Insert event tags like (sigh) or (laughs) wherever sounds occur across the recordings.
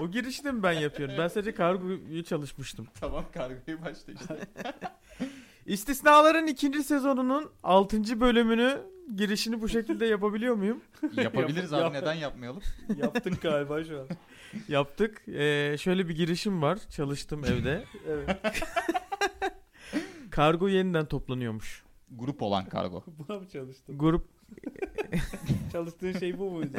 O girişi de mi ben yapıyorum? Ben (laughs) sadece kargoyu çalışmıştım. Tamam kargoyu başla (laughs) işte. İstisnaların ikinci sezonunun 6. bölümünü girişini bu (laughs) şekilde yapabiliyor muyum? Yapabiliriz abi Yap- neden yapmayalım? (laughs) Yaptık galiba şu an. Yaptık. Ee, şöyle bir girişim var. Çalıştım evde. Evet. (laughs) Kargo yeniden toplanıyormuş. Grup olan kargo. Buna mı (laughs) çalıştın? Grup Çalıştığın şey bu muydu?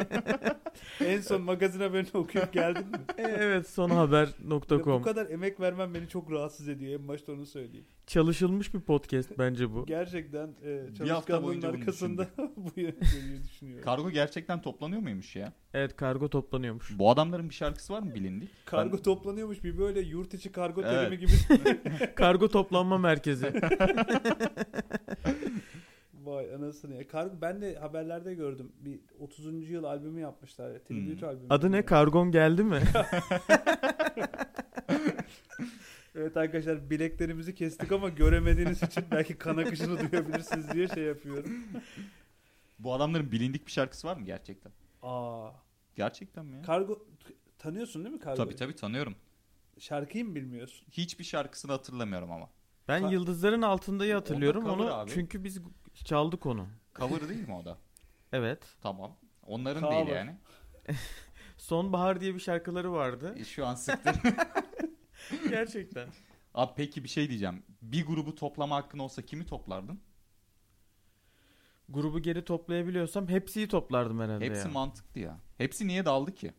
en son magazin haberini okuyup geldin mi? e, evet sonhaber.com Bu kadar emek vermen beni çok rahatsız ediyor. En başta onu söyleyeyim. çalışılmış bir podcast bence bu. Gerçekten e, hafta çalışkanlığın boyunca bunu arkasında (laughs) (laughs) bu yönetmeyi düşünüyorum. Kargo gerçekten toplanıyor muymuş ya? Evet kargo (laughs) toplanıyormuş. Bu adamların bir şarkısı var mı bilindik? kargo toplanıyormuş bir böyle yurt içi kargo Evet. terimi (laughs) gibi. Kargo toplanma merkezi. Vay anasını ya. Kargo ben de haberlerde gördüm. Bir 30. yıl albümü yapmışlar. ya, Tribute Hmm. albümü. Adı ne? Kargom geldi (laughs) mi? Evet arkadaşlar bileklerimizi kestik ama göremediğiniz için belki kan akışını (laughs) duyabilirsiniz diye şey yapıyorum. Bu adamların bilindik bir şarkısı var mı gerçekten? Aa. Gerçekten mi ya? Kargo t- tanıyorsun değil mi kargo? Tabii tabii tanıyorum. Şarkıyı mı bilmiyorsun? Hiçbir şarkısını hatırlamıyorum ama. Ben Ka- yıldızların altındayı hatırlıyorum. Onda cover Onu abi. çünkü biz çaldık onu. Cover değil mi o da? Evet. Tamam. Onların Cover. değil yani. Sonbahar diye bir şarkıları vardı. E, Şu an (laughs) sıktı. Gerçekten. Abi peki bir şey diyeceğim. Bir grubu toplama hakkın olsa kimi toplardın? Grubu geri toplayabiliyorsam hepsiyi toplardım herhalde Hepsi ya. mantıklı ya. Hepsi niye daldı ki?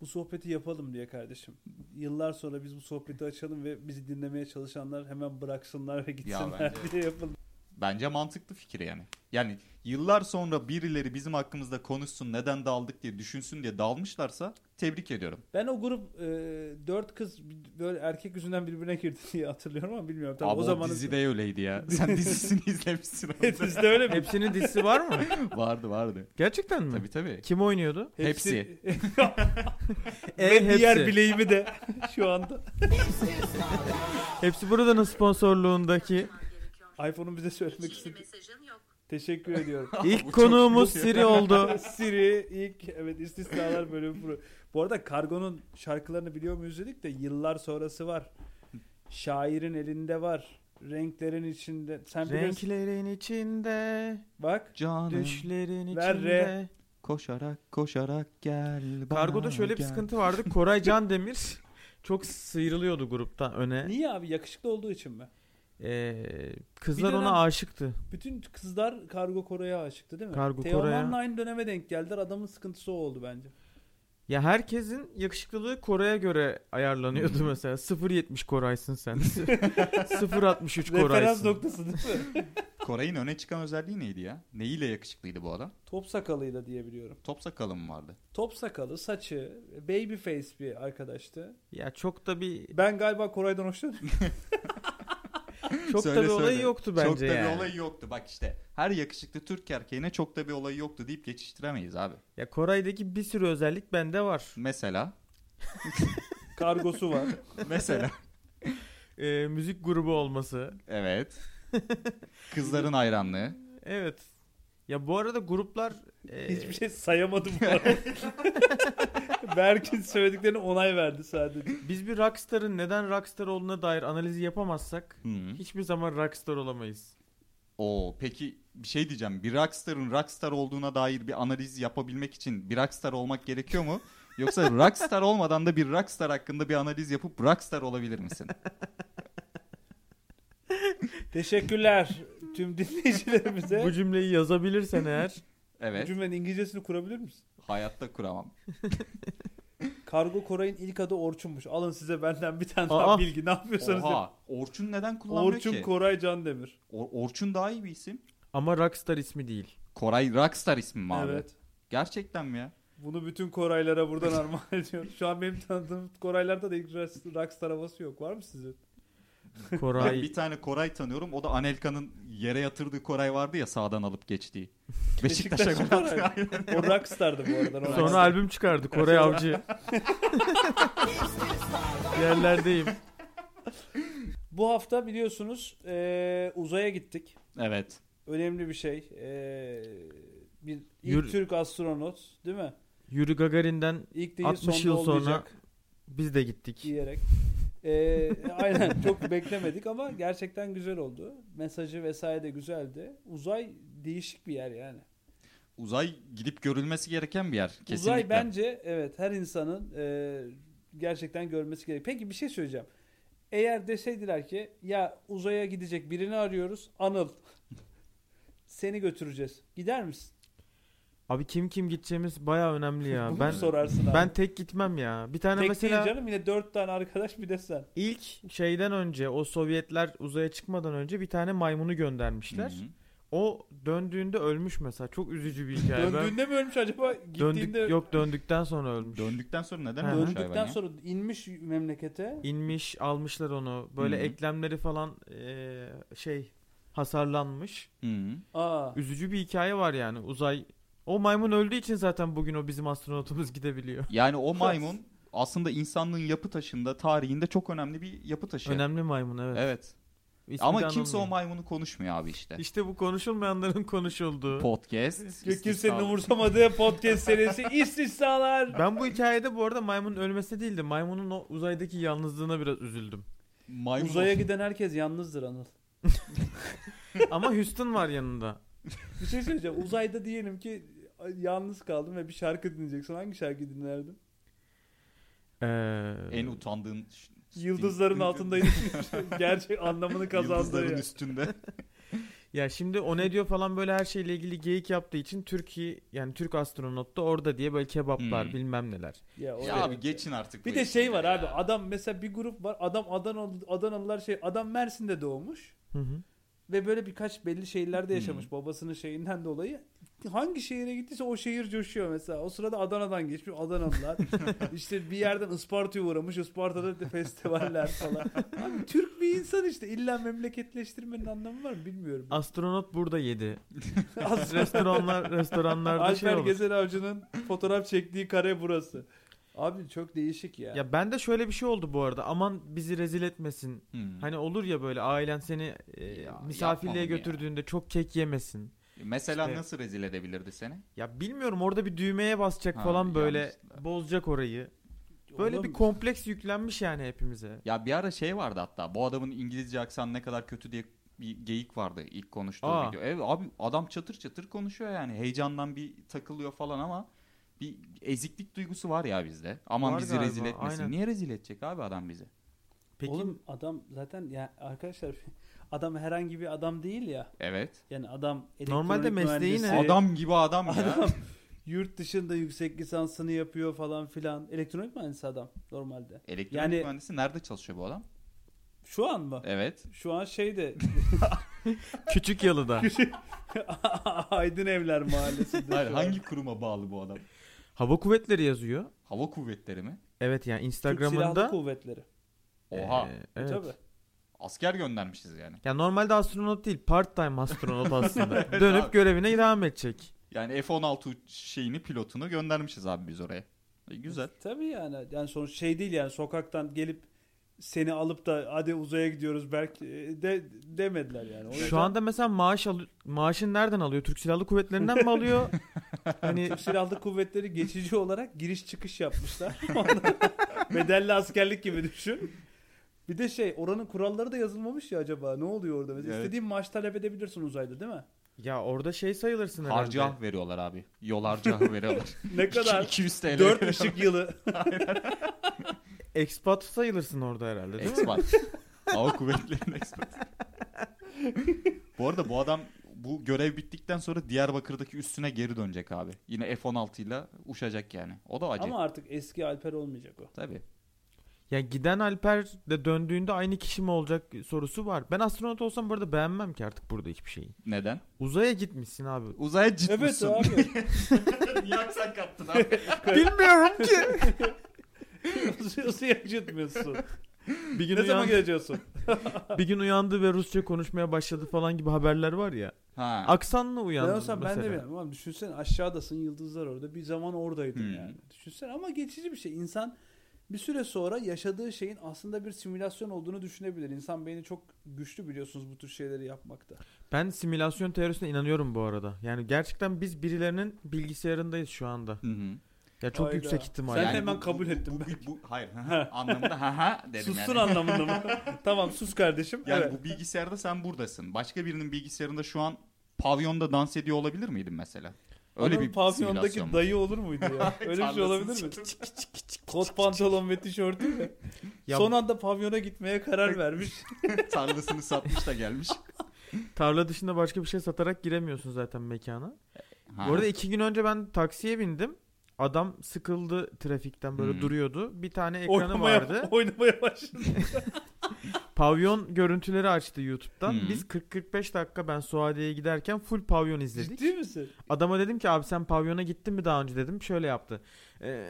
Bu sohbeti yapalım diye kardeşim. Yıllar sonra biz bu sohbeti açalım ve bizi dinlemeye çalışanlar hemen bıraksınlar ve gitsinler bence- (laughs) diye yapalım. Bence mantıklı fikir yani. Yani yıllar sonra birileri bizim hakkımızda konuşsun neden daldık diye düşünsün diye dalmışlarsa tebrik ediyorum. Ben o grup e, dört kız bir- böyle erkek yüzünden birbirine girdi diye hatırlıyorum ama bilmiyorum. Tabii Abi o zaman dizide (laughs) öyleydi ya. Sen dizisini izlemişsin. ama. (laughs) Dizide öyle mi? Hepsinin dizisi var (laughs) mı? vardı vardı. Gerçekten mi? Tabii tabii. Kim oynuyordu? (laughs) Hepsi. (laughs) E, Ve diğer hepsi. bileğimi de (laughs) şu anda. Hepsi buradanın (laughs) sponsorluğundaki. iPhone'un bize söylemek istediği. mesajın yok. Teşekkür ediyorum. Ah, İlk konuğumuz Siri (laughs) oldu. Siri ilk evet istisnalar bölümü. bu. Bu arada Kargo'nun şarkılarını biliyor muyuz dedik de yıllar sonrası var. Şairin elinde var. Renklerin içinde. Sen bilirsin. Renklerin içinde, Bak. Canım düşlerin Ver içinde. re. koşarak koşarak gel bana Kargoda şöyle bir gel. sıkıntı vardı. Koray Can Demir çok sıyrılıyordu gruptan öne. Niye abi yakışıklı olduğu için mi? Ee, kızlar Bir dönem- ona aşıktı. Bütün kızlar Kargo Koray'a aşıktı değil mi? Kargo Teoman'la Koray'a. aynı döneme denk geldiler. Adamın sıkıntısı o oldu bence. Ya herkesin yakışıklılığı Koray'a göre ayarlanıyordu Hmm. mesela. 0.70 Koray'sın (laughs) sen. 0.63 Referans Koray'sın. noktası değil mi? (laughs) Koray'ın öne çıkan özelliği neydi ya? Neyiyle yakışıklıydı bu adam? Top sakalıyla diye biliyorum. Top sakalı mı vardı? Top sakalı, saçı, baby face bir arkadaştı. Ya çok da bir Ben galiba Koray'dan hoşlanıyorum. çok da Söyle, bir olayı söyle. yoktu bence çok da yani. bir olayı yoktu. Bak işte her yakışıklı Türk erkeğine çok da bir olayı yoktu deyip geçiştiremeyiz abi. Ya Koray'daki bir sürü özellik bende var. Mesela Kargosu var. mesela Ee, müzik grubu olması. evet. Kızların hayranlığı. Evet. Ya bu arada gruplar e, Hiçbir şey sayamadım bu arada. (laughs) Berk'in söylediklerine onay verdi sadece. biz bir rockstar'ın neden rockstar olduğuna dair analizi yapamazsak Hı. hiçbir zaman rockstar olamayız. Oo peki bir şey diyeceğim. Bir rockstar'ın rockstar olduğuna dair bir analiz yapabilmek için bir rockstar olmak gerekiyor mu? Yoksa rockstar olmadan da bir rockstar hakkında bir analiz yapıp rockstar olabilir misin? Teşekkürler tüm dinleyicilerimize. Bu cümleyi yazabilirsen eğer Bu Evet. cümlenin İngilizcesini kurabilir misin? Hayatta kuramam. Kargo Koray'ın ilk adı Orçun'muş. Alın size benden bir tane daha Aa. bilgi. Ne yapıyorsanız yapın. Oha. Orçun neden kullanmıyor Orçun ki? Koray Candemir. Or- Orçun daha iyi bir isim. ama rockstar ismi değil. Koray Rockstar ismi mi abi? Evet. Gerçekten mi ya? Bunu bütün Koraylara buradan armağan (laughs) ediyorum. Şu an benim tanıdığım Koraylarda da ilk rockstar havası yok. Var mı sizin? Ben Koray (laughs) bir tane Koray tanıyorum. O da Anelka'nın yere yatırdığı Koray vardı ya sağdan alıp geçtiği. Beşiktaş'a Beşiktaş gol attı. Koray. O rockstardı bu arada. normal. sonra albüm çıkardı Koray Avcı. Yerlerdeyim. Bu hafta biliyorsunuz eee, uzaya gittik. (laughs) Evet. Önemli bir şey. Eee, bir ilk Yürü- Türk astronot değil mi? Yuri Gagarin'den İlk değil 60 sonda yıl sonra- olmayacak biz de gittik. diyerek. Ee, (laughs) aynen çok beklemedik ama gerçekten güzel oldu. Mesajı vesaire de güzeldi. Uzay değişik bir yer yani. Uzay gidip görülmesi gereken bir yer kesinlikle. Uzay bence evet her insanın e, gerçekten görmesi gerek. Peki bir şey söyleyeceğim. Eğer deseydiler ki ya uzaya gidecek birini arıyoruz Anıl (laughs) seni götüreceğiz. Gider misin? Abi kim kim gideceğimiz baya önemli ya. Bunu ben sorarsın abi. ben tek gitmem ya. Bir tane Tek mesela değil canım yine dört tane arkadaş bir de sen. ilk şeyden önce o Sovyetler uzaya çıkmadan önce bir tane maymunu göndermişler. Hı hı. O döndüğünde ölmüş mesela. Çok üzücü bir hikaye. Ben- Döndüğünde mi ölmüş acaba? Gittiğinde döndük yok döndükten sonra ölmüş. Döndükten sonra neden Hı. ölmüş hayvan döndükten ya? sonra inmiş memlekete. İnmiş, almışlar onu. Böyle Hı hı. eklemleri falan eee, şey hasarlanmış. Hı hı. Aa. Üzücü bir hikaye var yani. Uzay o maymun öldüğü için zaten bugün o bizim astronotumuz (laughs) gidebiliyor. Yani o maymun aslında insanlığın yapı taşında, tarihinde çok önemli bir yapı taşı. Önemli maymun evet. Şey- Evet. İsmi de Ama kimse o anılmıyor. maymunu konuşmuyor abi işte. İşte bu konuşulmayanların (laughs) konuşulduğu. Podcast. Kimsenin istisnalı. umursamadığı (laughs) podcast serisi istisnalar. Ben bu hikayede bu arada maymunun ölmesi değildi. Maymunun o uzaydaki yalnızlığına biraz (laughs) üzüldüm. Maymun Uzaya olsun. giden herkes yalnızdır Anıl. Ama Houston var yanında. Bir şey söyleyeceğim. Uzayda diyelim ki yalnız kaldım ve bir şarkı dinleyeceksin. Hangi şarkı dinlerdin? Ee, En utandığın (laughs) Yıldızların altındaydı. Gerçek anlamını kazandı Yıldızların ya. (laughs) üstünde. Ya şimdi o ne diyor falan böyle her şeyle ilgili geyik yaptığı için Türkiye yani Türk astronot da orada diye böyle kebaplar Hmm. bilmem neler. Ya, ya abi geçin artık. Bir bu de şey işleri var ya. abi. Adam mesela bir grup var. Adam Adanalı, Adanalılar şey adam Mersin'de doğmuş. Hı hı. Ve böyle birkaç belli şehirlerde yaşamış Hmm. babasının şeyinden dolayı. Hangi şehire gittiyse o şehir coşuyor mesela. O sırada Adana'dan geçmiş (laughs) Adanalılar. işte bir yerden Isparta'ya uğramış. Isparta'da de festivaller falan. Abi Türk bir insan işte. İlla memleketleştirmenin anlamı var mı bilmiyorum. Astronot burada yedi. Aslında Restoranlar restoranlarda şey Alper olur. Gezer Avcı'nın fotoğraf çektiği kare burası. Abi çok değişik ya. Ya ben de şöyle bir şey oldu bu arada. Aman bizi rezil etmesin. Hmm. Hani olur ya böyle ailen seni e, Ya, misafirliğe yapma bunu götürdüğünde çok kek yemesin. Mesela işte- nasıl rezil edebilirdi seni? Ya bilmiyorum orada bir düğmeye basacak Ha, falan böyle yanlışlıkla. bozacak orayı. Böyle Oğlum, bir kompleks yüklenmiş yani hepimize. Ya bir ara şey vardı hatta. Bu adamın İngilizce aksanı ne kadar kötü diye bir geyik vardı ilk konuştuğu Aa. video. Evet abi adam çatır çatır konuşuyor yani. Heyecandan bir takılıyor falan ama bir eziklik duygusu var ya bizde. Aman Var bizi galiba, rezil etmesin. aynen. Niye rezil edecek abi adam bizi? Peki Oğlum adam zaten ya arkadaşlar (laughs) adam herhangi bir adam değil ya. Evet. Yani adam Normalde elektronik mesleği ne? mühendisi, Adam gibi adam ya. Şey- Adam yurt dışında yüksek lisansını yapıyor falan filan. Elektronik mühendisi adam normalde. Elektronik Yani- mühendisi nerede çalışıyor bu adam? Şu an mı? Evet. Şu an şeyde (laughs) küçük yalıda Aydın Evler Mahallesi'nde. Hayır, şu an. hangi kuruma bağlı bu adam? hava kuvvetleri yazıyor. Hava kuvvetleri mi? Evet yani Türk Silahlı Instagram'ında Kuvvetleri. E, Oha. Ee, evet. Tabii. Asker göndermişiz yani. Ya normalde astronot değil, part-time astronot aslında. Evet Dönüp abi. görevine devam edecek. Yani F-16 şeyini pilotunu göndermişiz abi biz oraya. E, güzel. Tabii yani. Yani sonuç şey değil yani sokaktan gelip seni alıp da hadi uzaya gidiyoruz belki e, de demediler yani. O yüzden Şu anda mesela maaş al maaşın nereden alıyor? Türk Silahlı Kuvvetleri'nden mi alıyor? hani Türk Silahlı Kuvvetleri geçici olarak giriş çıkış yapmışlar. (laughs) Ondan- Bedelli askerlik gibi düşün. Bir de şey oranın kuralları da yazılmamış ya acaba ne oluyor orada? Mesela Evet. istediğin maaş talep edebilirsin uzayda değil mi? ya orada şey sayılırsın herhalde. Harcah ah veriyorlar abi. Yol (laughs) harcah veriyorlar. Ne kadar? 200 TL. 4 ışık yılı. Expat sayılırsın orada herhalde değil mi? (laughs) Expat. Hava kuvvetlerinin expat. (laughs) bu arada bu adam bu görev bittikten sonra Diyarbakır'daki üstüne geri dönecek abi. Yine F-16 ile uçacak yani. O da acayip. Ama artık eski Alper olmayacak o. Tabii. Ya giden Alper de döndüğünde aynı kişi mi olacak sorusu var. Ben astronot olsam bu arada beğenmem ki artık burada hiçbir şeyi. Neden? Uzaya gitmişsin abi. Uzaya ciddi Evet abi. (laughs) Niye aksan kattın (laughs) abi? Bilmiyorum ki. Uzaya gitmiyorsun. bir gün ne zaman uyan- geleceğiz? bir gün uyandı ve Rusça konuşmaya başladı falan gibi haberler var ya. Ha. Aksanla Ben uyandı olsam ben mesela. de bilmiyorum. Ulan düşünsene aşağıdasın yıldızlar orada. Bir zaman oradaydın Hmm. yani. Düşünsene ama geçici bir şey. İnsan bir süre sonra yaşadığı şeyin aslında bir simülasyon olduğunu düşünebilir. İnsan beyni çok güçlü biliyorsunuz bu tür şeyleri yapmakta. Ben simülasyon teorisine inanıyorum bu arada. Yani gerçekten biz birilerinin bilgisayarındayız şu anda. Hı hı. Ya çok Hayda. yüksek ihtimal. Ben Sen- Yani hemen bu- kabul bu- ettim Bu, bu, hayır hı hı anlamında ha ha dedim Sussun yani. anlamında (laughs) mı? tamam sus kardeşim. Yani evet. bu bilgisayarda sen buradasın. Başka birinin bilgisayarında şu an pavyonda dans ediyor olabilir miydin mesela? Öyle Adamın bir simülasyon. pavyondaki mu? dayı olur muydu ya? (laughs) Öyle bir şey Tarlasın olabilir mi? Kot pantolon ve tişörtüyle. ya Son anda pavyona gitmeye karar vermiş. (laughs) Tarlasını satmış da gelmiş. tarla dışında başka bir şey satarak giremiyorsun zaten mekana. Ha. Bu arada iki gün önce ben taksiye bindim. Adam sıkıldı trafikten böyle Hmm. duruyordu. Bir tane ekranı Oynamaya, vardı. oynamaya başladı. Pavyon görüntüleri açtı YouTube'dan. Hmm. Biz 40-45 dakika ben Suadiye'ye giderken full pavyon izledik. Ciddi misin? Adama dedim ki abi sen pavyona gittin mi daha önce dedim. Şöyle yaptı. "Ee,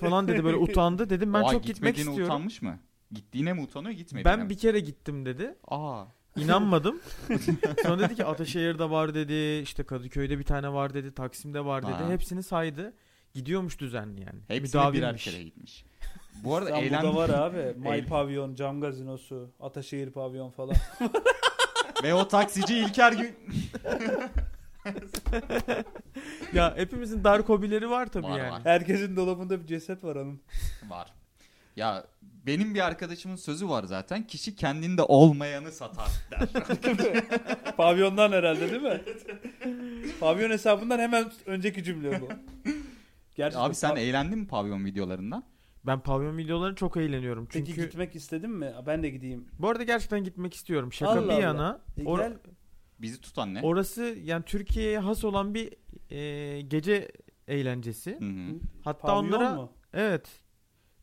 falan dedi (laughs) böyle utandı. Dedim ben Oha, çok gitmek gitmediğine istiyorum. utanmış mı? Gittiğine mi utanıyor gitmediğine Ben mi? bir kere gittim dedi. Aa. İnanmadım. (laughs) Sonra dedi ki Ataşehir'de var dedi. işte Kadıköy'de bir tane var dedi. Taksim'de var dedi. Ha. Hepsini saydı. Gidiyormuş düzenli yani. Hepsine birer Müdavilmiş. kere gitmiş. Bu (laughs) arada İstanbul'da eğlendim var abi. May Eğlen- pavyon, cam gazinosu, Ataşehir pavyon (laughs) falan. ve o taksici İlker gün Ya hepimizin dark hobileri var tabii Var, yani. var. Herkesin dolabında bir ceset var onun. (laughs) var. Ya benim bir arkadaşımın sözü var zaten. Kişi kendinde olmayanı satar (laughs) der. Pavyondan herhalde değil (laughs) mi? pavyon hesabından hemen önceki cümle bu. Gerçekten Abi sen e- pav- eğlendin mi pavyon videolarından? Ben pavyon videolarına çok eğleniyorum. Peki Çünkü gitmek istedin mi? Ben de gideyim. bu arada gerçekten gitmek istiyorum. Şaka Allah bir Allah. yana. E, or- gel. Bizi tutan ne? Orası yani Türkiye'ye has olan bir e, gece eğlencesi. Hı hı. Hatta Pavyon onlara mu? evet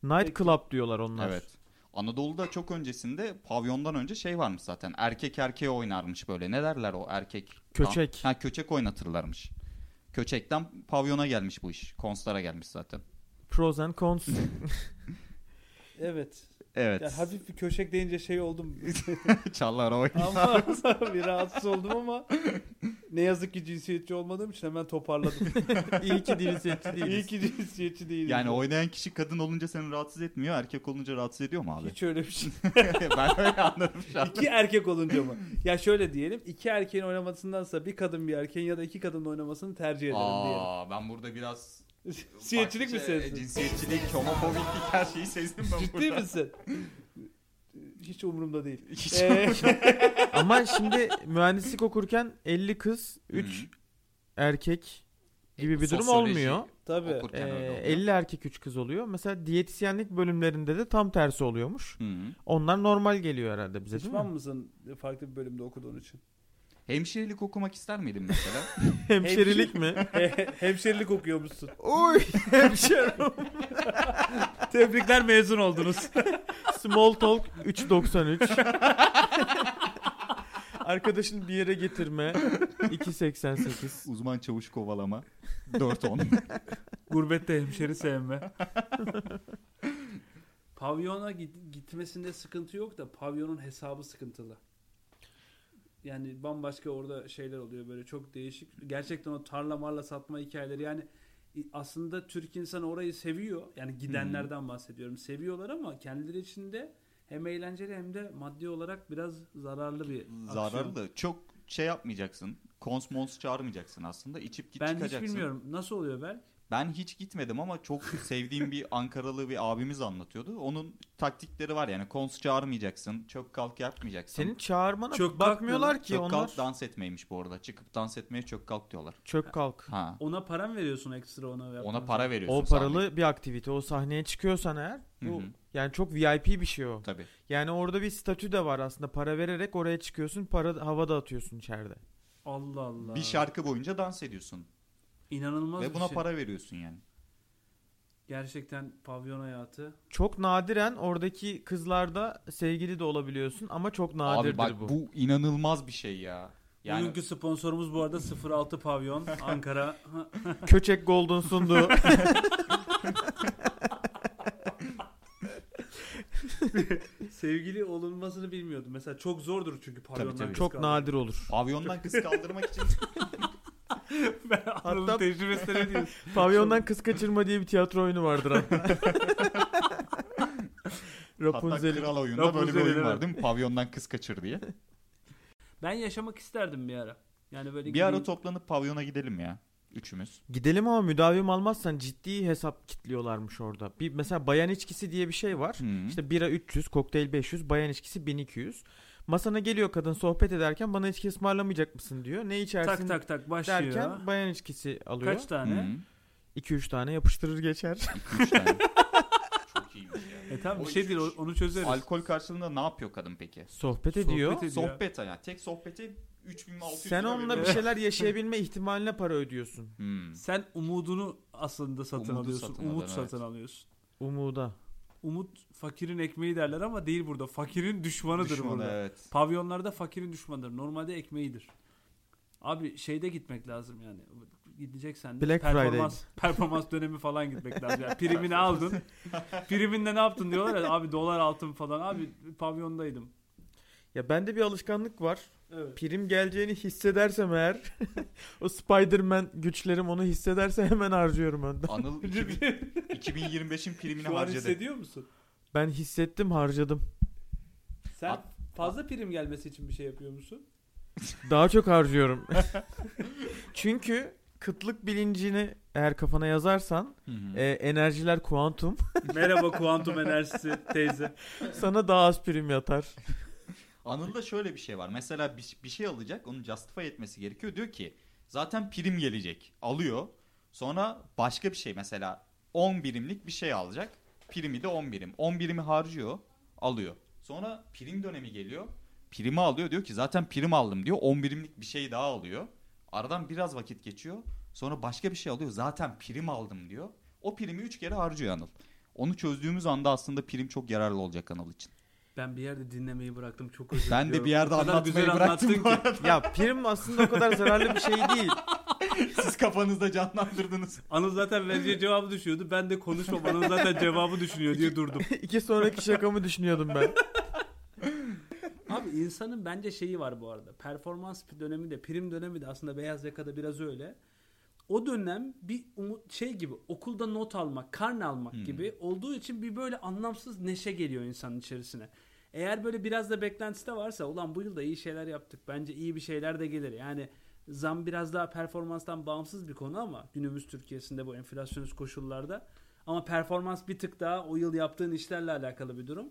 night Peki. club diyorlar onlar. Evet. Anadolu'da çok öncesinde pavyondan önce şey varmış zaten. Erkek erkeğe oynarmış böyle. Ne derler o erkek? Köçek. Ha, köçek oynatırlarmış. Köçekten pavyona gelmiş bu iş. Konstlara gelmiş zaten. Pros and cons. Evet. Evet. (laughs) Ya hafif bir köşek deyince şey oldum. Çallar (laughs) o. ama bir rahatsız oldum ama ne yazık ki cinsiyetçi olmadığım için hemen toparladım. İyi ki cinsiyetçi İyi değiliz. ki cinsiyetçi değilim. Yani oynayan kişi kadın olunca seni rahatsız etmiyor. Erkek olunca rahatsız ediyor mu abi? (laughs) Hiç öyle bir şey. (laughs) ben öyle anladım şu an. iki erkek olunca mı? Ya şöyle diyelim. iki erkeğin oynamasındansa bir kadın bir erkeğin ya da iki kadının oynamasını tercih ederim diyelim. Aa, ben burada biraz Cinsiyetçilik mi Bak, e, sensin? Cinsiyetçilik, homofobiklik her şeyi sezdim ben Ciddi burada. misin? Hiç umurumda değil. Hiç- Ee, Ama şimdi mühendislik okurken 50 kız 3 Hı. erkek gibi bir durum Sosyoloji olmuyor. (laughs) tabii. Ee, okurken öyle oluyor. 50 erkek 3 kız oluyor. Mesela diyetisyenlik bölümlerinde de tam tersi oluyormuş. Hı. Onlar normal geliyor herhalde bize değil Pişman mi? mısın farklı bir bölümde okuduğun için? Hemşirelik okumak ister miydin mesela? (laughs) Hemşerilik mi? He- Hemşerilik okuyormuşsun. Oy hemşerim. (laughs) Tebrikler mezun oldunuz. Small talk 3.93. Arkadaşını bir yere getirme 2.88. Uzman çavuş kovalama (laughs) 410. Gurbette hemşeri sevme. (laughs) Pavyona git- gitmesinde sıkıntı yok da pavyonun hesabı sıkıntılı. Yani bambaşka orada şeyler oluyor böyle çok değişik. Gerçekten o tarla marla satma hikayeleri yani i- aslında Türk insanı orayı seviyor. Yani gidenlerden bahsediyorum. Seviyorlar ama kendileri içinde hem eğlenceli hem de maddi olarak biraz zararlı bir aksiyon. Zararlı. Çok şey yapmayacaksın. Konsmons çağırmayacaksın aslında. İçip git Ben hiç çıkacaksın. bilmiyorum. Nasıl oluyor Berk? Ben hiç gitmedim ama çok sevdiğim bir Ankaralı bir abimiz anlatıyordu. Onun taktikleri var yani. Kons çağırmayacaksın. Çöp kalk yapmayacaksın. Senin çağırmana Çök bakmıyorlar ki çök onlar. kalk dans etmeymiş bu arada. Çıkıp dans etmeye çök kalk diyorlar. Çök kalk. Ha. Ona para mı veriyorsun ekstra ona? Ona yapmanız? para veriyorsun. O paralı bir aktivite. O sahneye çıkıyorsan eğer Hı bu hı. yani çok VIP bir şey o. sahne. Tabii. Yani orada bir statü de var aslında. Para vererek oraya çıkıyorsun. Para havada atıyorsun içeride. Allah Allah. Bir şey şarkı boyunca dans ediyorsun. İnanılmaz Ve buna bir şey. para veriyorsun yani. Gerçekten pavyon hayatı. Çok nadiren oradaki kızlarda sevgili de olabiliyorsun ama çok nadirdir Abi bak bu. bu. inanılmaz bir şey ya. Yani Bugünkü sponsorumuz bu arada 06 (laughs) Pavyon Ankara. Ha, Köçek Golden sundu. Sevgili olunmasını bilmiyordum. Mesela çok zordur çünkü pavyondan Tabii, tabii. kız çok kalmak. nadir olur. pavyondan kız kaldırmak için (laughs) ben Hatta... Hatta- tecrübesine ne (laughs) diyorsun? Pavyondan kız kaçırma diye bir tiyatro oyunu vardır (laughs) hatta. hatta Rapunzel. kral oyunda böyle bir Rapunzel'in, oyun var evet. değil mi? Pavyondan kız kaçır diye. Ben yaşamak isterdim bir ara. Yani böyle bir ara gideyim- toplanıp pavyona gidelim ya. Üçümüz. Gidelim ama müdavim almazsan ciddi hesap kitliyorlarmış orada. Bir mesela bayan içkisi diye bir şey var. Hı. İşte bira 300, kokteyl 500, bayan içkisi 1200. Masana geliyor kadın sohbet ederken bana içki ısmarlamayacak mısın diyor. Ne içersin Tak tak tak başlıyor. derken bayan içkisi alıyor. Kaç tane? Hı. 2-3 tane yapıştırır geçer. İki, (laughs) üç tane. Çok iyiymiş E tamam O bir şey üç- değil o- onu çözeriz. yani. Alkol karşılığında ne yapıyor kadın peki? sohbet Sohbet ediyor. ediyor. Sohbet yani. Tek sohbeti 3600 Sen lira onunla bir şey veriyor. şeyler yaşayabilme ihtimaline para ödüyorsun. Hmm. Sen umudunu aslında satın Umudu alıyorsun. satın Umut alıyorsun, evet. satın alıyorsun. Umuda. Umut fakirin ekmeği derler ama değil burada. Fakirin düşmanıdır şey Düşmanı, burada. evet. Pavyonlarda fakirin düşmanıdır. Normalde ekmeğidir. Abi şeyde gitmek lazım yani. Gideceksen de Black performans, performans dönemi falan gitmek lazım. Yani primini aldın. Priminde ne yaptın diyorlar ya abi dolar altın falan. Abi pavyondaydım. Ya bende bir alışkanlık var. Evet. Prim geleceğini hissedersem eğer (laughs) o Spider-Man güçlerim onu hissederse hemen harcıyorum önden. (laughs) Anıl 2000 2025'in primini Şu an harcadı. hissediyor musun? Ben hissettim harcadım. Sen At- fazla prim gelmesi için bir şey yapıyor musun? Daha çok harcıyorum. (laughs) Çünkü kıtlık bilincini eğer kafana yazarsan Hı hı. e, enerjiler kuantum (laughs) Merhaba kuantum enerjisi teyze. sana daha az prim yatar. Anıl'da şöyle bir şey var. Mesela bir, bir şey alacak onu justify etmesi gerekiyor. Diyor ki zaten prim gelecek. Alıyor. Sonra başka bir şey mesela 10 birimlik bir şey alacak. Primi de 10 birim. 10 birimi harcıyor. Alıyor. Sonra prim dönemi geliyor. Primi alıyor. Diyor ki zaten prim aldım diyor. 10 birimlik bir şey daha alıyor. Aradan biraz vakit geçiyor. Sonra başka bir şey alıyor. Zaten prim aldım diyor. O primi 3 kere harcıyor Anıl. Onu çözdüğümüz anda aslında prim çok yararlı olacak Anıl için. (laughs) Ben bir yerde dinlemeyi bıraktım çok özür Ben de diliyorum. bir yerde O kadar anlatmayı güzel bıraktım anlattın bu ki. arada. Ya prim aslında o kadar zararlı bir şey değil. (laughs) Siz kafanızda canlandırdınız. Anıl zaten vereceği cevabı düşünüyordu. Ben de konuşmam. Anıl zaten cevabı düşünüyor diye durdum. İki sonraki şakamı düşünüyordum ben. Abi insanın bence şeyi var bu arada. Performans dönemi de prim dönemi de aslında beyaz yakada biraz öyle. O dönem bir umut şey gibi okulda not almak, karne almak Hmm. gibi olduğu için bir böyle anlamsız neşe geliyor insanın içerisine. Eğer böyle biraz da beklentisi de varsa ulan bu yıl da iyi şeyler yaptık. Bence iyi bir şeyler de gelir. Yani zam biraz daha performanstan bağımsız bir konu ama günümüz Türkiye'sinde bu enflasyonist koşullarda ama performans bir tık daha o yıl yaptığın işlerle alakalı bir durum.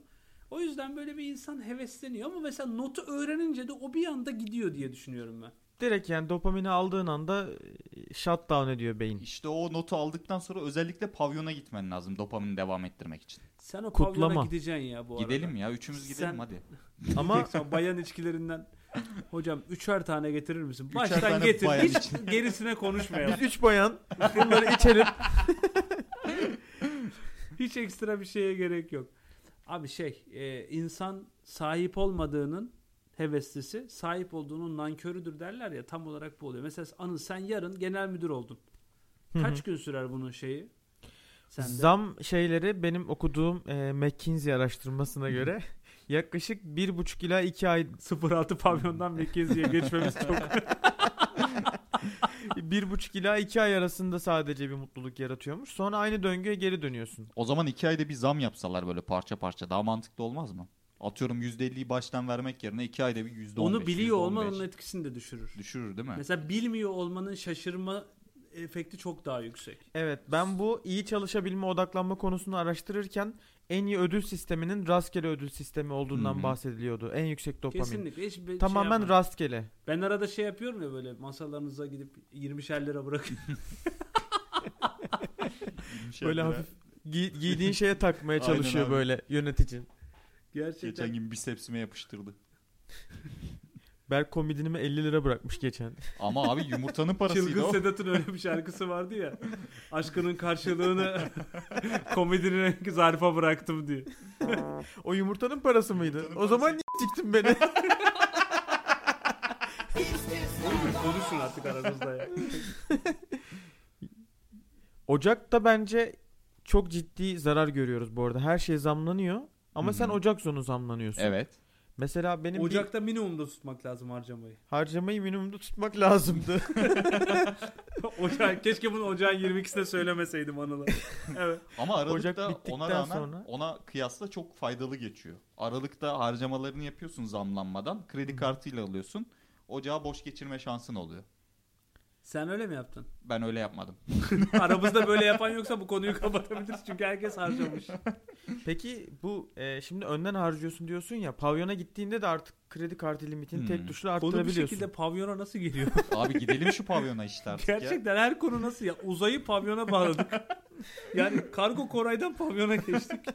O yüzden böyle bir insan hevesleniyor ama mesela notu öğrenince de o bir anda gidiyor diye düşünüyorum ben. Direkt yani dopamini aldığın anda e, shutdown ediyor beyin. İşte o notu aldıktan sonra özellikle pavyona gitmen lazım dopamini devam ettirmek için. Sen o Kutlama. pavyona gideceksin ya bu arada. Gidelim ya üçümüz gidelim Sen- hadi. (laughs) Ama Sen bayan içkilerinden hocam üçer tane getirir misin? Üçer Baştan tane getir. bayan Hiç gerisine konuşmayalım. biz üç bayan bunları içelim. (laughs) Hiç ekstra bir şeye gerek yok. Abi şey e, insan sahip olmadığının heveslisi sahip olduğunun nankörüdür derler ya tam olarak bu oluyor. Mesela Anıl sen yarın genel müdür oldun. Kaç gün sürer bunun şeyi? Sende? Zam şeyleri benim okuduğum e, McKinsey araştırmasına göre (laughs) yaklaşık bir buçuk ila iki ay 06 pavyondan Mekkezi'ye geçmemiz çok bir buçuk ila iki ay arasında sadece bir mutluluk yaratıyormuş. Sonra aynı döngüye geri dönüyorsun. O zaman iki ayda bir zam yapsalar böyle parça parça daha mantıklı olmaz mı? Atıyorum %50'yi baştan vermek yerine iki ayda bir %15. Onu biliyor %15 olman onun etkisini de düşürür. Düşürür değil mi? Mesela bilmiyor olmanın şaşırma efekti çok daha yüksek. Evet ben bu iyi çalışabilme odaklanma konusunu araştırırken en iyi ödül sisteminin rastgele ödül sistemi olduğundan Hı hı. bahsediliyordu. En yüksek dopamin. Kesinlikle. Hiç bir Tamamen şey yapma. rastgele. Ben arada şey yapıyorum ya böyle masalarınıza gidip 20'şer lira bırakın. Şey böyle bile- hafif gi- giydiğin şeye takmaya (laughs) Aynen çalışıyor abi. böyle yöneticin. (laughs) Gerçekten. Geçen gün bisepsime yapıştırdı. Berk komodinimi 50 lira bırakmış geçen. Ama abi (laughs) yumurtanın parasıydı Çılgın o. Sedat'ın öyle bir şarkısı vardı ya. Aşkının karşılığını (laughs) komedinin rengi zarfa bıraktım diye. O yumurtanın parası mıydı? Yumurtanın o zaman niye siktin beni? (laughs) Konuşun artık aranızda ya. Ocak'ta bence çok ciddi zarar görüyoruz bu arada. Her şey zamlanıyor. Ama Hı hı. sen Ocak sonu zamlanıyorsun. Evet. Mesela benim bir Ocak'ta minimumda tutmak lazım harcamayı. harcamayı minimumda tutmak lazımdı. (laughs) Ocak, keşke bunu ocağın 22'sinde söylemeseydim Anıl'a. Evet. Ama Ocak Aralık'ta bittikten ona rağmen sonra- ona kıyasla çok faydalı geçiyor. Aralık'ta harcamalarını yapıyorsun zamlanmadan. Kredi kartıyla alıyorsun. Ocağı boş geçirme şansın oluyor. Sen öyle mi yaptın? Ben öyle yapmadım. (laughs) Aramızda böyle yapan yoksa bu konuyu kapatabiliriz çünkü herkes harcamış. Peki bu e, şimdi önden harcıyorsun diyorsun ya pavyona gittiğinde de artık kredi kartı limitini Hmm. tek tuşla Konu bir arttırabiliyorsun. şekilde pavyona nasıl geliyor? Abi gidelim şu pavyona işte artık ya. Gerçekten her konu nasıl ya? Uzayı (laughs) pavyona bağladık. Yani kargo koraydan pavyona geçtik.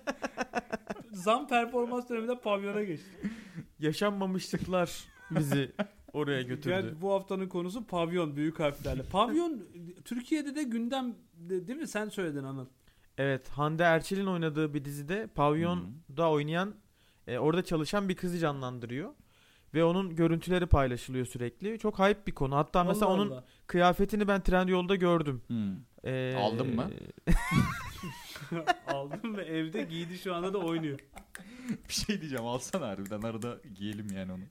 Zam performans döneminde pavyona geçtik. (laughs) Yaşanmamışlıklar bizi oraya götürdü. Yani bu haftanın konusu pavyon büyük harflerle. Pavyon Türkiye'de de gündem de- değil mi? Sen söyledin Anıl. Evet Hande Erçel'in oynadığı bir dizide Hmm. pavyonda oynayan e, orada çalışan bir kızı canlandırıyor. Ve onun görüntüleri paylaşılıyor sürekli. Çok hype bir konu. Hatta mesela Allah onun Allah. (laughs) kıyafetini ben Trendyol'da gördüm. Hmm. Ee, Aldın mı? aldım ve evde giydi şu anda da oynuyor. Bir şey diyeceğim alsana harbiden arada giyelim yani onu.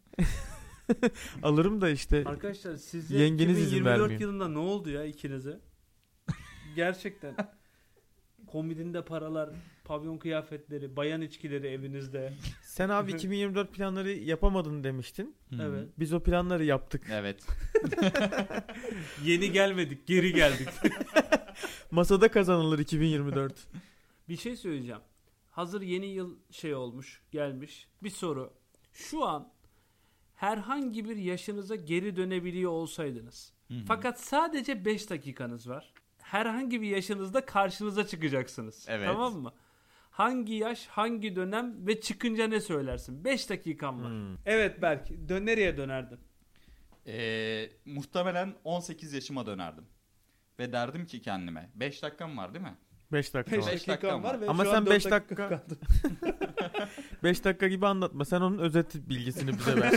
Alırım da işte. Arkadaşlar size Yengeniz izin 2024 vermiyor. yılında ne oldu ya ikinize? Gerçekten. Kombidinde paralar, pavyon kıyafetleri, bayan içkileri evinizde. Sen abi 2024 planları yapamadın demiştin. Hmm. Evet. Biz o planları yaptık. Evet. Yeni gelmedik, geri geldik. Masada kazanılır (laughs) 2024. (laughs) Bir şey söyleyeceğim. Hazır yeni yıl şey olmuş, gelmiş. Bir soru. Şu an herhangi bir yaşınıza geri dönebiliyor olsaydınız. Hı hı. Fakat sadece 5 dakikanız var. Herhangi bir yaşınızda karşınıza çıkacaksınız. Evet. Tamam mı? Hangi yaş, hangi dönem ve çıkınca ne söylersin? 5 dakikan var. Hmm. Evet belki. Dön nereye dönerdin? Ee, muhtemelen 18 yaşıma dönerdim. Ve derdim ki kendime 5 dakikam var değil mi? 5 dakika Beş var. dakikam var. ve Ama şu sen an dört beş dakika- kaldı. 5 dakika gibi anlatma. Sen onun özet bilgisini bize ver.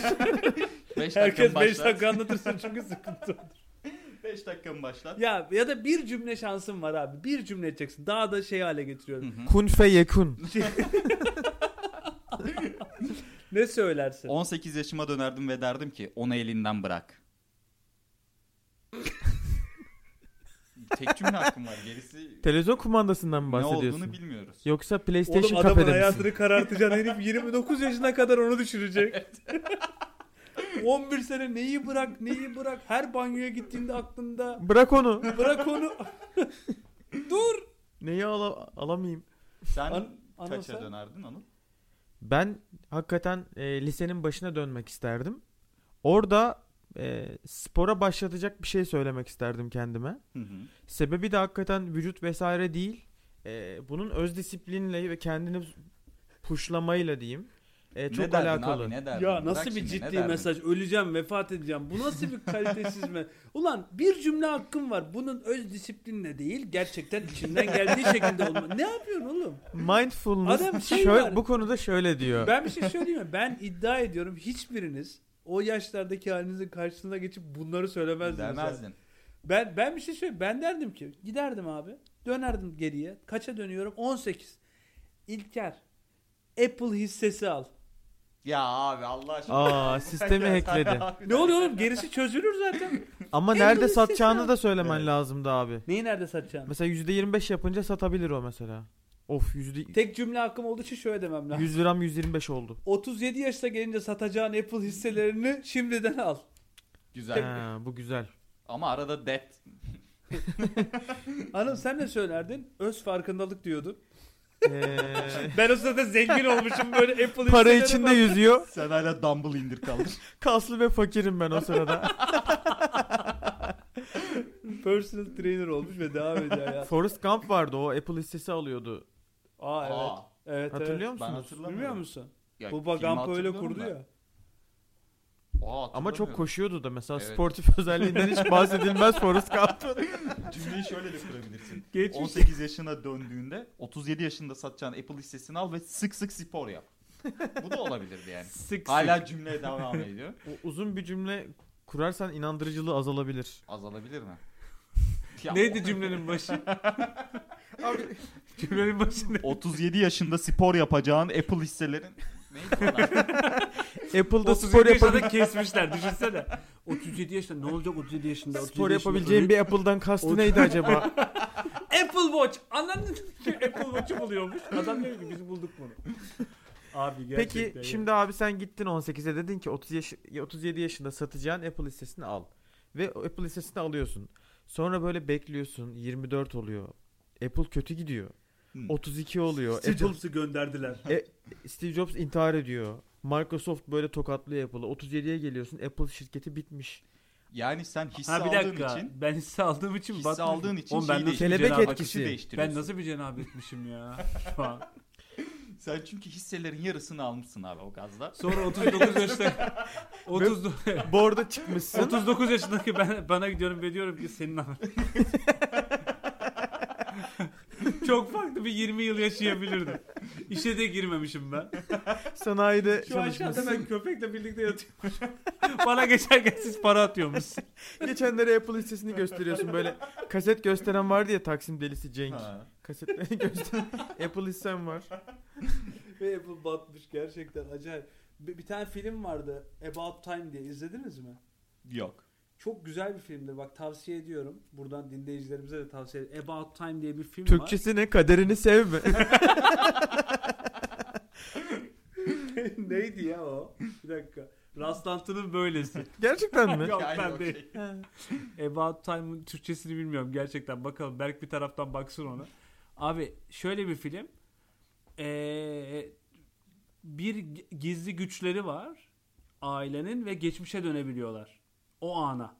Herkes 5 dakikam 5 başlat. dakika anlatırsın çünkü sıkıntı. 5 dakikam başlat. Ya ya da bir cümle şansın var abi. Bir cümle edeceksin. Daha da şey hale Hı getiriyorum. hı. kun fe yekun. Ne söylersin? 18 yaşıma dönerdim ve derdim ki onu elinden bırak. (laughs) Tek cümle hakkım var. Gerisi Televizyon kumandasından mı ne olduğunu bahsediyorsun? bilmiyoruz. Yoksa Oğlum PlayStation adamın kafede misin? hayatını karartacaksın herif 29 yaşına kadar onu düşürecek. (laughs) 11 sene neyi bırak neyi bırak her banyoya gittiğinde aklında Bırak onu. bırak onu (laughs) dur Neyi ala- alamayayım? Sen An- Anıl kaça sen? dönerdin Anıl? Ben hakikaten e, lisenin başına dönmek isterdim. Orada e, spora başlatacak bir şey söylemek isterdim kendime. Hı hı. Sebebi de hakikaten vücut vesaire değil. Ee, bunun öz disiplinle ve kendini puşlamayla diyeyim. Ee, çok ne derdin alakalı. abi ne derdin? ya Bırak nasıl bir şimdi, ne ciddi derdin? mesaj? öleceğim vefat edeceğim bu nasıl bir kalitesiz mi (laughs) ulan bir cümle hakkım var bunun öz disiplinle değil gerçekten içinden geldiği şekilde olma ne yapıyorsun oğlum Mindfulness Adam şey şöyle- var. bu konuda şöyle diyor. ben bir şey söyleyeyim mi ben iddia ediyorum hiçbiriniz o yaşlardaki halinizin karşısına geçip bunları söylemezdiniz yani. Demezdin. ben ben bir şey söyleyeyim ben derdim ki giderdim abi dönerdim geriye kaça dönüyorum 18 İlker Apple hissesi al Ya abi Allah aşkına. Aa (laughs) sistemi (laughs) Ya sen hackledi. abi- Ne oluyor oğlum? Gerisi çözülür zaten. Ama En nerede doğru satacağını sistem. da söylemen Evet. lazımdı abi. Neyi nerede satacağım? Mesela %25 yapınca satabilir o mesela. Of yüzde Tek cümle hakkım olduğu için şöyle demem lazım. 100 liram 125 oldu. 37 yaşta gelince satacağın Apple hisselerini şimdiden al. Güzel. Ha, bu güzel. (laughs) Ama arada dead. Hanım sen ne söylerdin? Öz farkındalık diyordun. Ee, Ben o sırada zengin olmuşum böyle Apple hisseleri. para içinde (laughs) yüzüyor. Sen hala dumbbell indir kaldır. Kaslı ve fakirim ben o sırada. Personal trainer olmuş ve devam ediyor (laughs) ya. Forrest Gump vardı o Apple hissesi alıyordu. Aa evet. (laughs) Aa, evet Hatırlıyor evet. ben musunuz? hatırlamıyorum. Bilmiyor musun? Ya, Baba filmi Gump öyle hatırlıyorum kurdu da. ya. Aa, Ama çok hatırlamıyorum. koşuyordu da mesela Evet. sportif (laughs) özelliğinden hiç bahsedilmez Forrest Gump'ın. Cümleyi şöyle de kurabilirsin. Geçmiş. 18 yaşına döndüğünde 37 yaşında satacağın Apple hissesini al ve sık sık spor yap. Bu da olabilirdi (laughs) yani. Sık Hala cümleye devam ediyor. O uzun bir cümle kurarsan inandırıcılığı azalabilir. Azalabilir (laughs) mi? Ya, Neydi cümlenin (laughs) başı? (laughs) cümlenin başı ne? 37 yaşında spor yapacağın Apple hisselerin Neydi onlar? Apple'da 37 spor, yaşında yapabil- (laughs) kesmişler düşünsene. 37 yaşında ne olacak 37 yaşında? 37 spor yaşında yapabileceğim bir Apple'dan kastı neydi acaba? Apple Watch. Anladın mı? (laughs) Apple Watch'u buluyormuş. Adam diyor ki biz bulduk bunu. Abi gerçekten. Peki şimdi abi sen gittin 18'e dedin ki 30 yaş- 37 yaşında satacağın Apple hissesini al. Ve o Apple listesini alıyorsun. Sonra böyle bekliyorsun. 24 oluyor. Apple kötü gidiyor. Hmm. 32 oluyor. Steve Apple Jobs'u gönderdiler. Steve Jobs intihar ediyor. Microsoft böyle tokatlıyor Apple'ı. 37'ye geliyorsun. Apple şirketi bitmiş. Yani sen hisse Ha bir dakika. aldığın için Ben hisse aldığım için Hisse batmışım. aldığın için Oğlum ben şey nasıl bir değil. Kelebek cenab- etkisi. akışı Ben değiştiriyorsun. nasıl bir cenab etmişim ya şu an. Sen çünkü hisselerin yarısını almışsın abi o gazda. Sonra 39 yaşında (laughs) 30 Borda çıkmışsın. 39 yaşındaki ben bana gidiyorum ve diyorum ki senin abi. (laughs) Çok farklı bir 20 yıl yaşayabilirdim. İşe de girmemişim ben. sanayide Şu aşağıda ben çalışmışsın. köpekle birlikte yatıyorum. (laughs) Bana geçerken siz para atıyormuşsunuz. (laughs) Geçenlere Apple listesini gösteriyorsun böyle. Kaset gösteren vardı ya Taksim delisi Cenk. Ha. (laughs) Kasetlerini göster. Apple listen var. Ve Apple batmış gerçekten acayip. Bir, bir tane film vardı About Time diye izlediniz mi? Yok. Çok güzel bir filmdir. Bak tavsiye ediyorum. Buradan dinleyicilerimize de tavsiye ediyorum. About Time diye bir film var. Türkçesi ne? Kaderini sevme. (laughs) (laughs) Neydi ya o? Bir dakika. Rastlantının böylesi. Gerçekten mi? Yok Yani şey, ben okey. değil. About Time'ın Türkçesini bilmiyorum gerçekten. Bakalım Berk bir taraftan baksın ona. Abi şöyle bir film. Ee, bir gi- gizli güçleri var ailenin ve geçmişe dönebiliyorlar. O ana.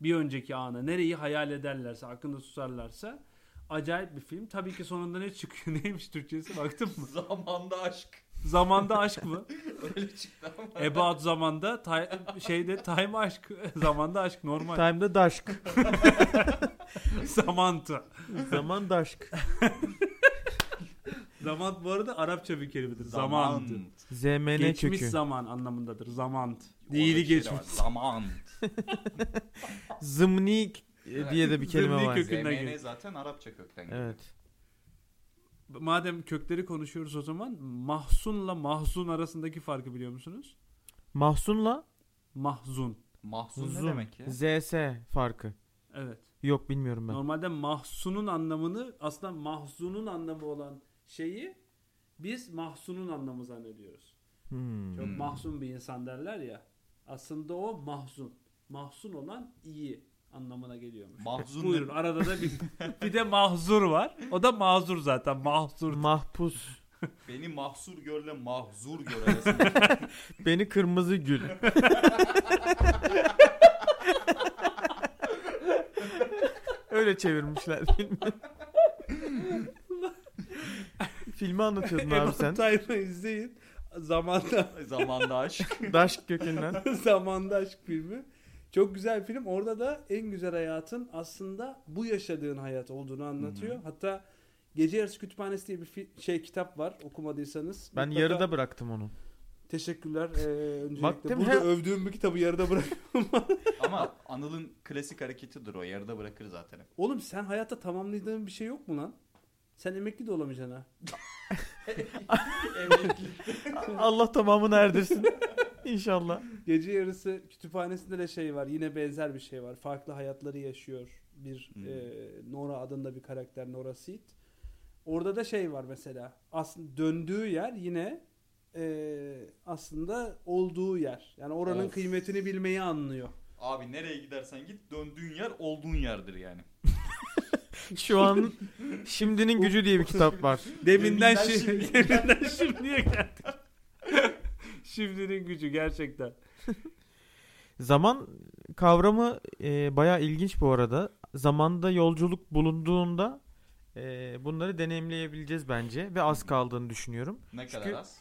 Bir önceki ana. Nereyi hayal ederlerse, aklında susarlarsa. Acayip bir film. Tabii ki sonunda ne çıkıyor? (laughs) Neymiş Türkçesi? Baktın mı? Zamanda aşk. Zamanda aşk mı? Öyle çıktı ama. About zamanda tay- şeyde time aşk (laughs) zamanda aşk normal. Time'da (laughs) daşk. Zamanta. Zaman daşk. Zamant bu arada Arapça bir kelimedir. Zamant. Zaman. ZMN Geçmiş kökü. zaman anlamındadır. Zamant. Orada bir şey de Değili var. geçmiş. Zaman. Zımni e, diye de bir kelime Zımni var. kökü. Kökünden ZMN geliyor. zaten Arapça kökten geliyor. Evet. Madem kökleri konuşuyoruz o zaman mahsunla mahzun arasındaki farkı biliyor musunuz? Mahsunla Mahzun. Mahzun ne zun. demek ya? ZS farkı. Evet. Yok bilmiyorum ben. Normalde mahsunun anlamını aslında mahzunun anlamı olan şeyi biz mahsunun anlamı zannediyoruz. Hmm. Çok Hmm. mahzun bir insan derler ya. Aslında o mahzun. Mahzun olan iyi anlamına geliyormuş. Mahzun Buyurun ne- arada da (laughs) bir, bir de mahzur var. O da mazur zaten. Mahzur. Mahpus. Beni mahsur görle mahzur gör arasında. (laughs) Beni kırmızı gül. Öyle çevirmişler filmi. filmi anlatıyordun abi About sen. Time'ı izleyin. Zamanda (laughs) Zamanda aşk. Daşk kökünden. Zamanda aşk filmi. Çok güzel film. Orada da en güzel hayatın aslında bu yaşadığın hayat olduğunu anlatıyor. Hatta Gece Yarısı Kütüphanesi diye bir fi- şey kitap var okumadıysanız. Ben mutlaka- yarıda bıraktım onu. Teşekkürler. Ee, öncelikle Baktım burada he- övdüğüm bir kitabı yarıda bırak. (laughs) Ama Anıl'ın klasik hareketidir o. Yarıda bırakır zaten. hep. Oğlum sen hayatta tamamladığın bir şey yok mu lan? Sen emekli de olamayacaksın (laughs) ha. (laughs) Allah tamamını erdirsin. İnşallah. Gece yarısı kütüphanesinde de şey var. Yine benzer bir şey var. Farklı hayatları yaşıyor. Bir Hmm. e, Nora adında bir karakter Nora Seed. Orada da şey var mesela. Aslında döndüğü yer yine e, aslında olduğu yer. Yani oranın Of. kıymetini bilmeyi (clears throat) anlıyor. Abi nereye gidersen git döndüğün yer olduğun yerdir yani. Şu an Şimdinin Gücü diye bir kitap var. Deminden, Deminden şi- şimdi. deminden (laughs) şimdiye geldik. Şimdinin gücü gerçekten. Zaman kavramı e, bayağı ilginç bu arada. Zamanda yolculuk bulunduğunda e, bunları deneyimleyebileceğiz bence ve az kaldığını düşünüyorum. (laughs) Ne Çünkü- kadar az?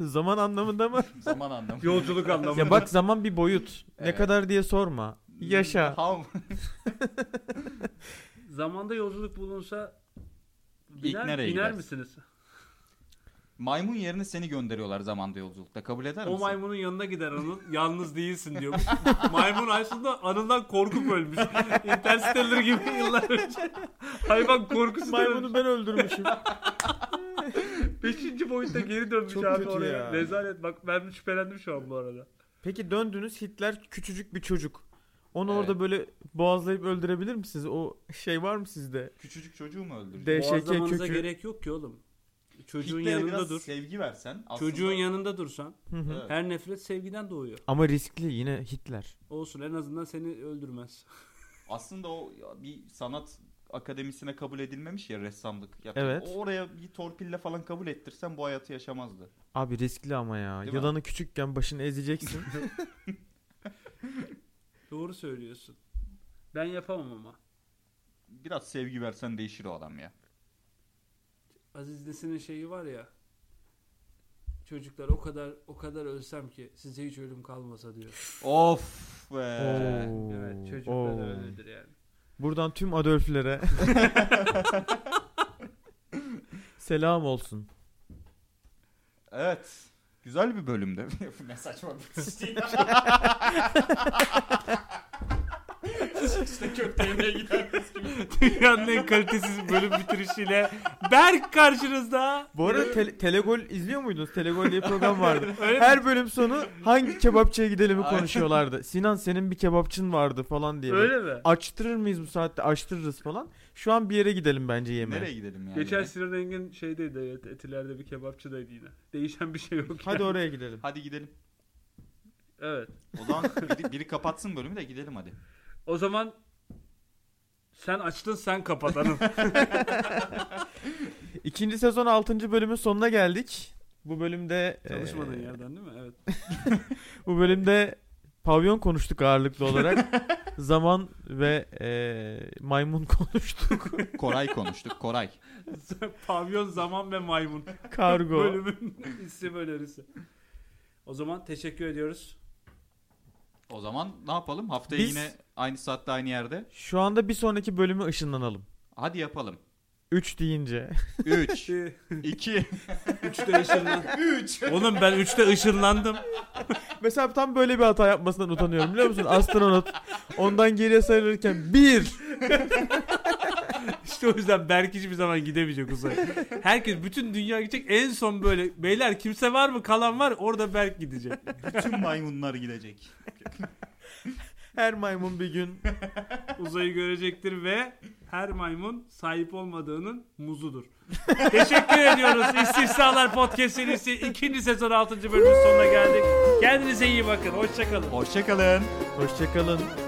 Zaman anlamında mı? Zaman anlamı. Yolculuk anlamında. ya bak zaman bir boyut. Ne Evet. kadar diye sorma. Yaşa. How- Zamanda yolculuk bulunsa İlk biner, nereye biner gidersin? misiniz? Maymun yerine seni gönderiyorlar zamanda yolculukta. Kabul eder misin? O maymunun yanına gider Anıl. Yalnız değilsin diyor. (laughs) Maymun aslında Anıl'dan korkup ölmüş. Interstellar gibi yıllar önce. Hayvan korkusu Maymunu ben öldürmüşüm. 5. boyutta geri dönmüş Çok abi kötü oraya. ya. Rezalet bak ben şüphelendim şu an bu arada. Peki döndünüz Hitler küçücük bir çocuk. Onu Evet. orada böyle boğazlayıp öldürebilir misiniz? O şey var mı sizde? Küçücük çocuğu mu öldürecek? Deşeke Boğazlamanıza kökü. gerek yok ki oğlum. Çocuğun Hitler'e yanında biraz dur. sevgi versen. Aslında, Çocuğun yanında dursan Hı hı. Evet. her nefret sevgiden doğuyor. Ama riskli yine Hitler. Olsun en azından seni öldürmez. (laughs) aslında o ya bir sanat akademisine kabul edilmemiş ya ressamlık. Ya Evet. o Oraya bir torpille falan kabul ettirsen bu hayatı yaşamazdı. Abi riskli ama ya. Değil mi? Yılanı küçükken başını ezeceksin. Doğru söylüyorsun. Ben yapamam ama. Biraz sevgi versen değişir o adam ya. Aziz Nesin'in şeyi var ya. Çocuklar o kadar o kadar ölsem ki size hiç ölüm kalmasa diyor. Of be. Ee, Oo, Evet oo. çocuklar da öyledir (laughs) yani. Buradan tüm (laughs) Adolf'lere selam olsun. Evet. Güzel bir bölümde. Bu (laughs) ne saçma bir şey. işte köklerine gider. Dünyanın en kalitesiz bölüm bitirişiyle Berk karşınızda. Bu arada tele- Telegol izliyor muydunuz? Telegol diye program vardı. Öyle Her bölüm sonu hangi kebapçıya gidelim Aynen. konuşuyorlardı. Sinan senin bir kebapçın vardı falan diye. Öyle mi? Açtırır mıyız bu saatte? Açtırırız falan. Şu an bir yere gidelim bence yemeğe. Nereye gidelim yani? Geçen Sinan Engin şeydeydi evet Etiler'de bir kebapçıdaydı yine. Değişen bir şey yok. Hadi yani. oraya gidelim. Hadi gidelim. Evet. O zaman biri, biri kapatsın bölümü de gidelim hadi. O zaman sen açtın sen (laughs) kapatanım. İkinci sezon 6. bölümün sonuna geldik. Bu bölümde e, Çalışmadığın yerden değil mi? Evet. Bu bölümde pavyon konuştuk ağırlıklı olarak. Zaman ve e, maymun konuştuk. Koray konuştuk. Koray. (laughs) Pavyon zaman ve maymun. Kargo. Bölümün (laughs) isim önerisi. O zaman teşekkür ediyoruz. O zaman ne yapalım? Haftaya Biz- yine aynı saatte aynı yerde. Şu anda bir sonraki bölümü ışınlanalım. Hadi yapalım. 3 deyince. (laughs) 3, 3'te 2, ışınlan. 3. Oğlum ben 3'te ışınlandım. Mesela tam böyle bir hata yapmasından utanıyorum biliyor musun? Astronot ondan geriye sayılırken 1. İşte o yüzden Berk hiçbir zaman gidemeyecek uzaya. Herkes bütün dünya gidecek. En son böyle beyler kimse var mı kalan var orada Berk gidecek. bütün maymunlar gidecek. Her maymun bir gün. Uzayı görecektir ve her maymun sahip olmadığının muzudur. Teşekkür ediyoruz. İstisnalar Podcast serisi 2. sezon 6. bölümün sonuna geldik. Kendinize iyi bakın. Hoşçakalın. Hoşçakalın. Hoşçakalın.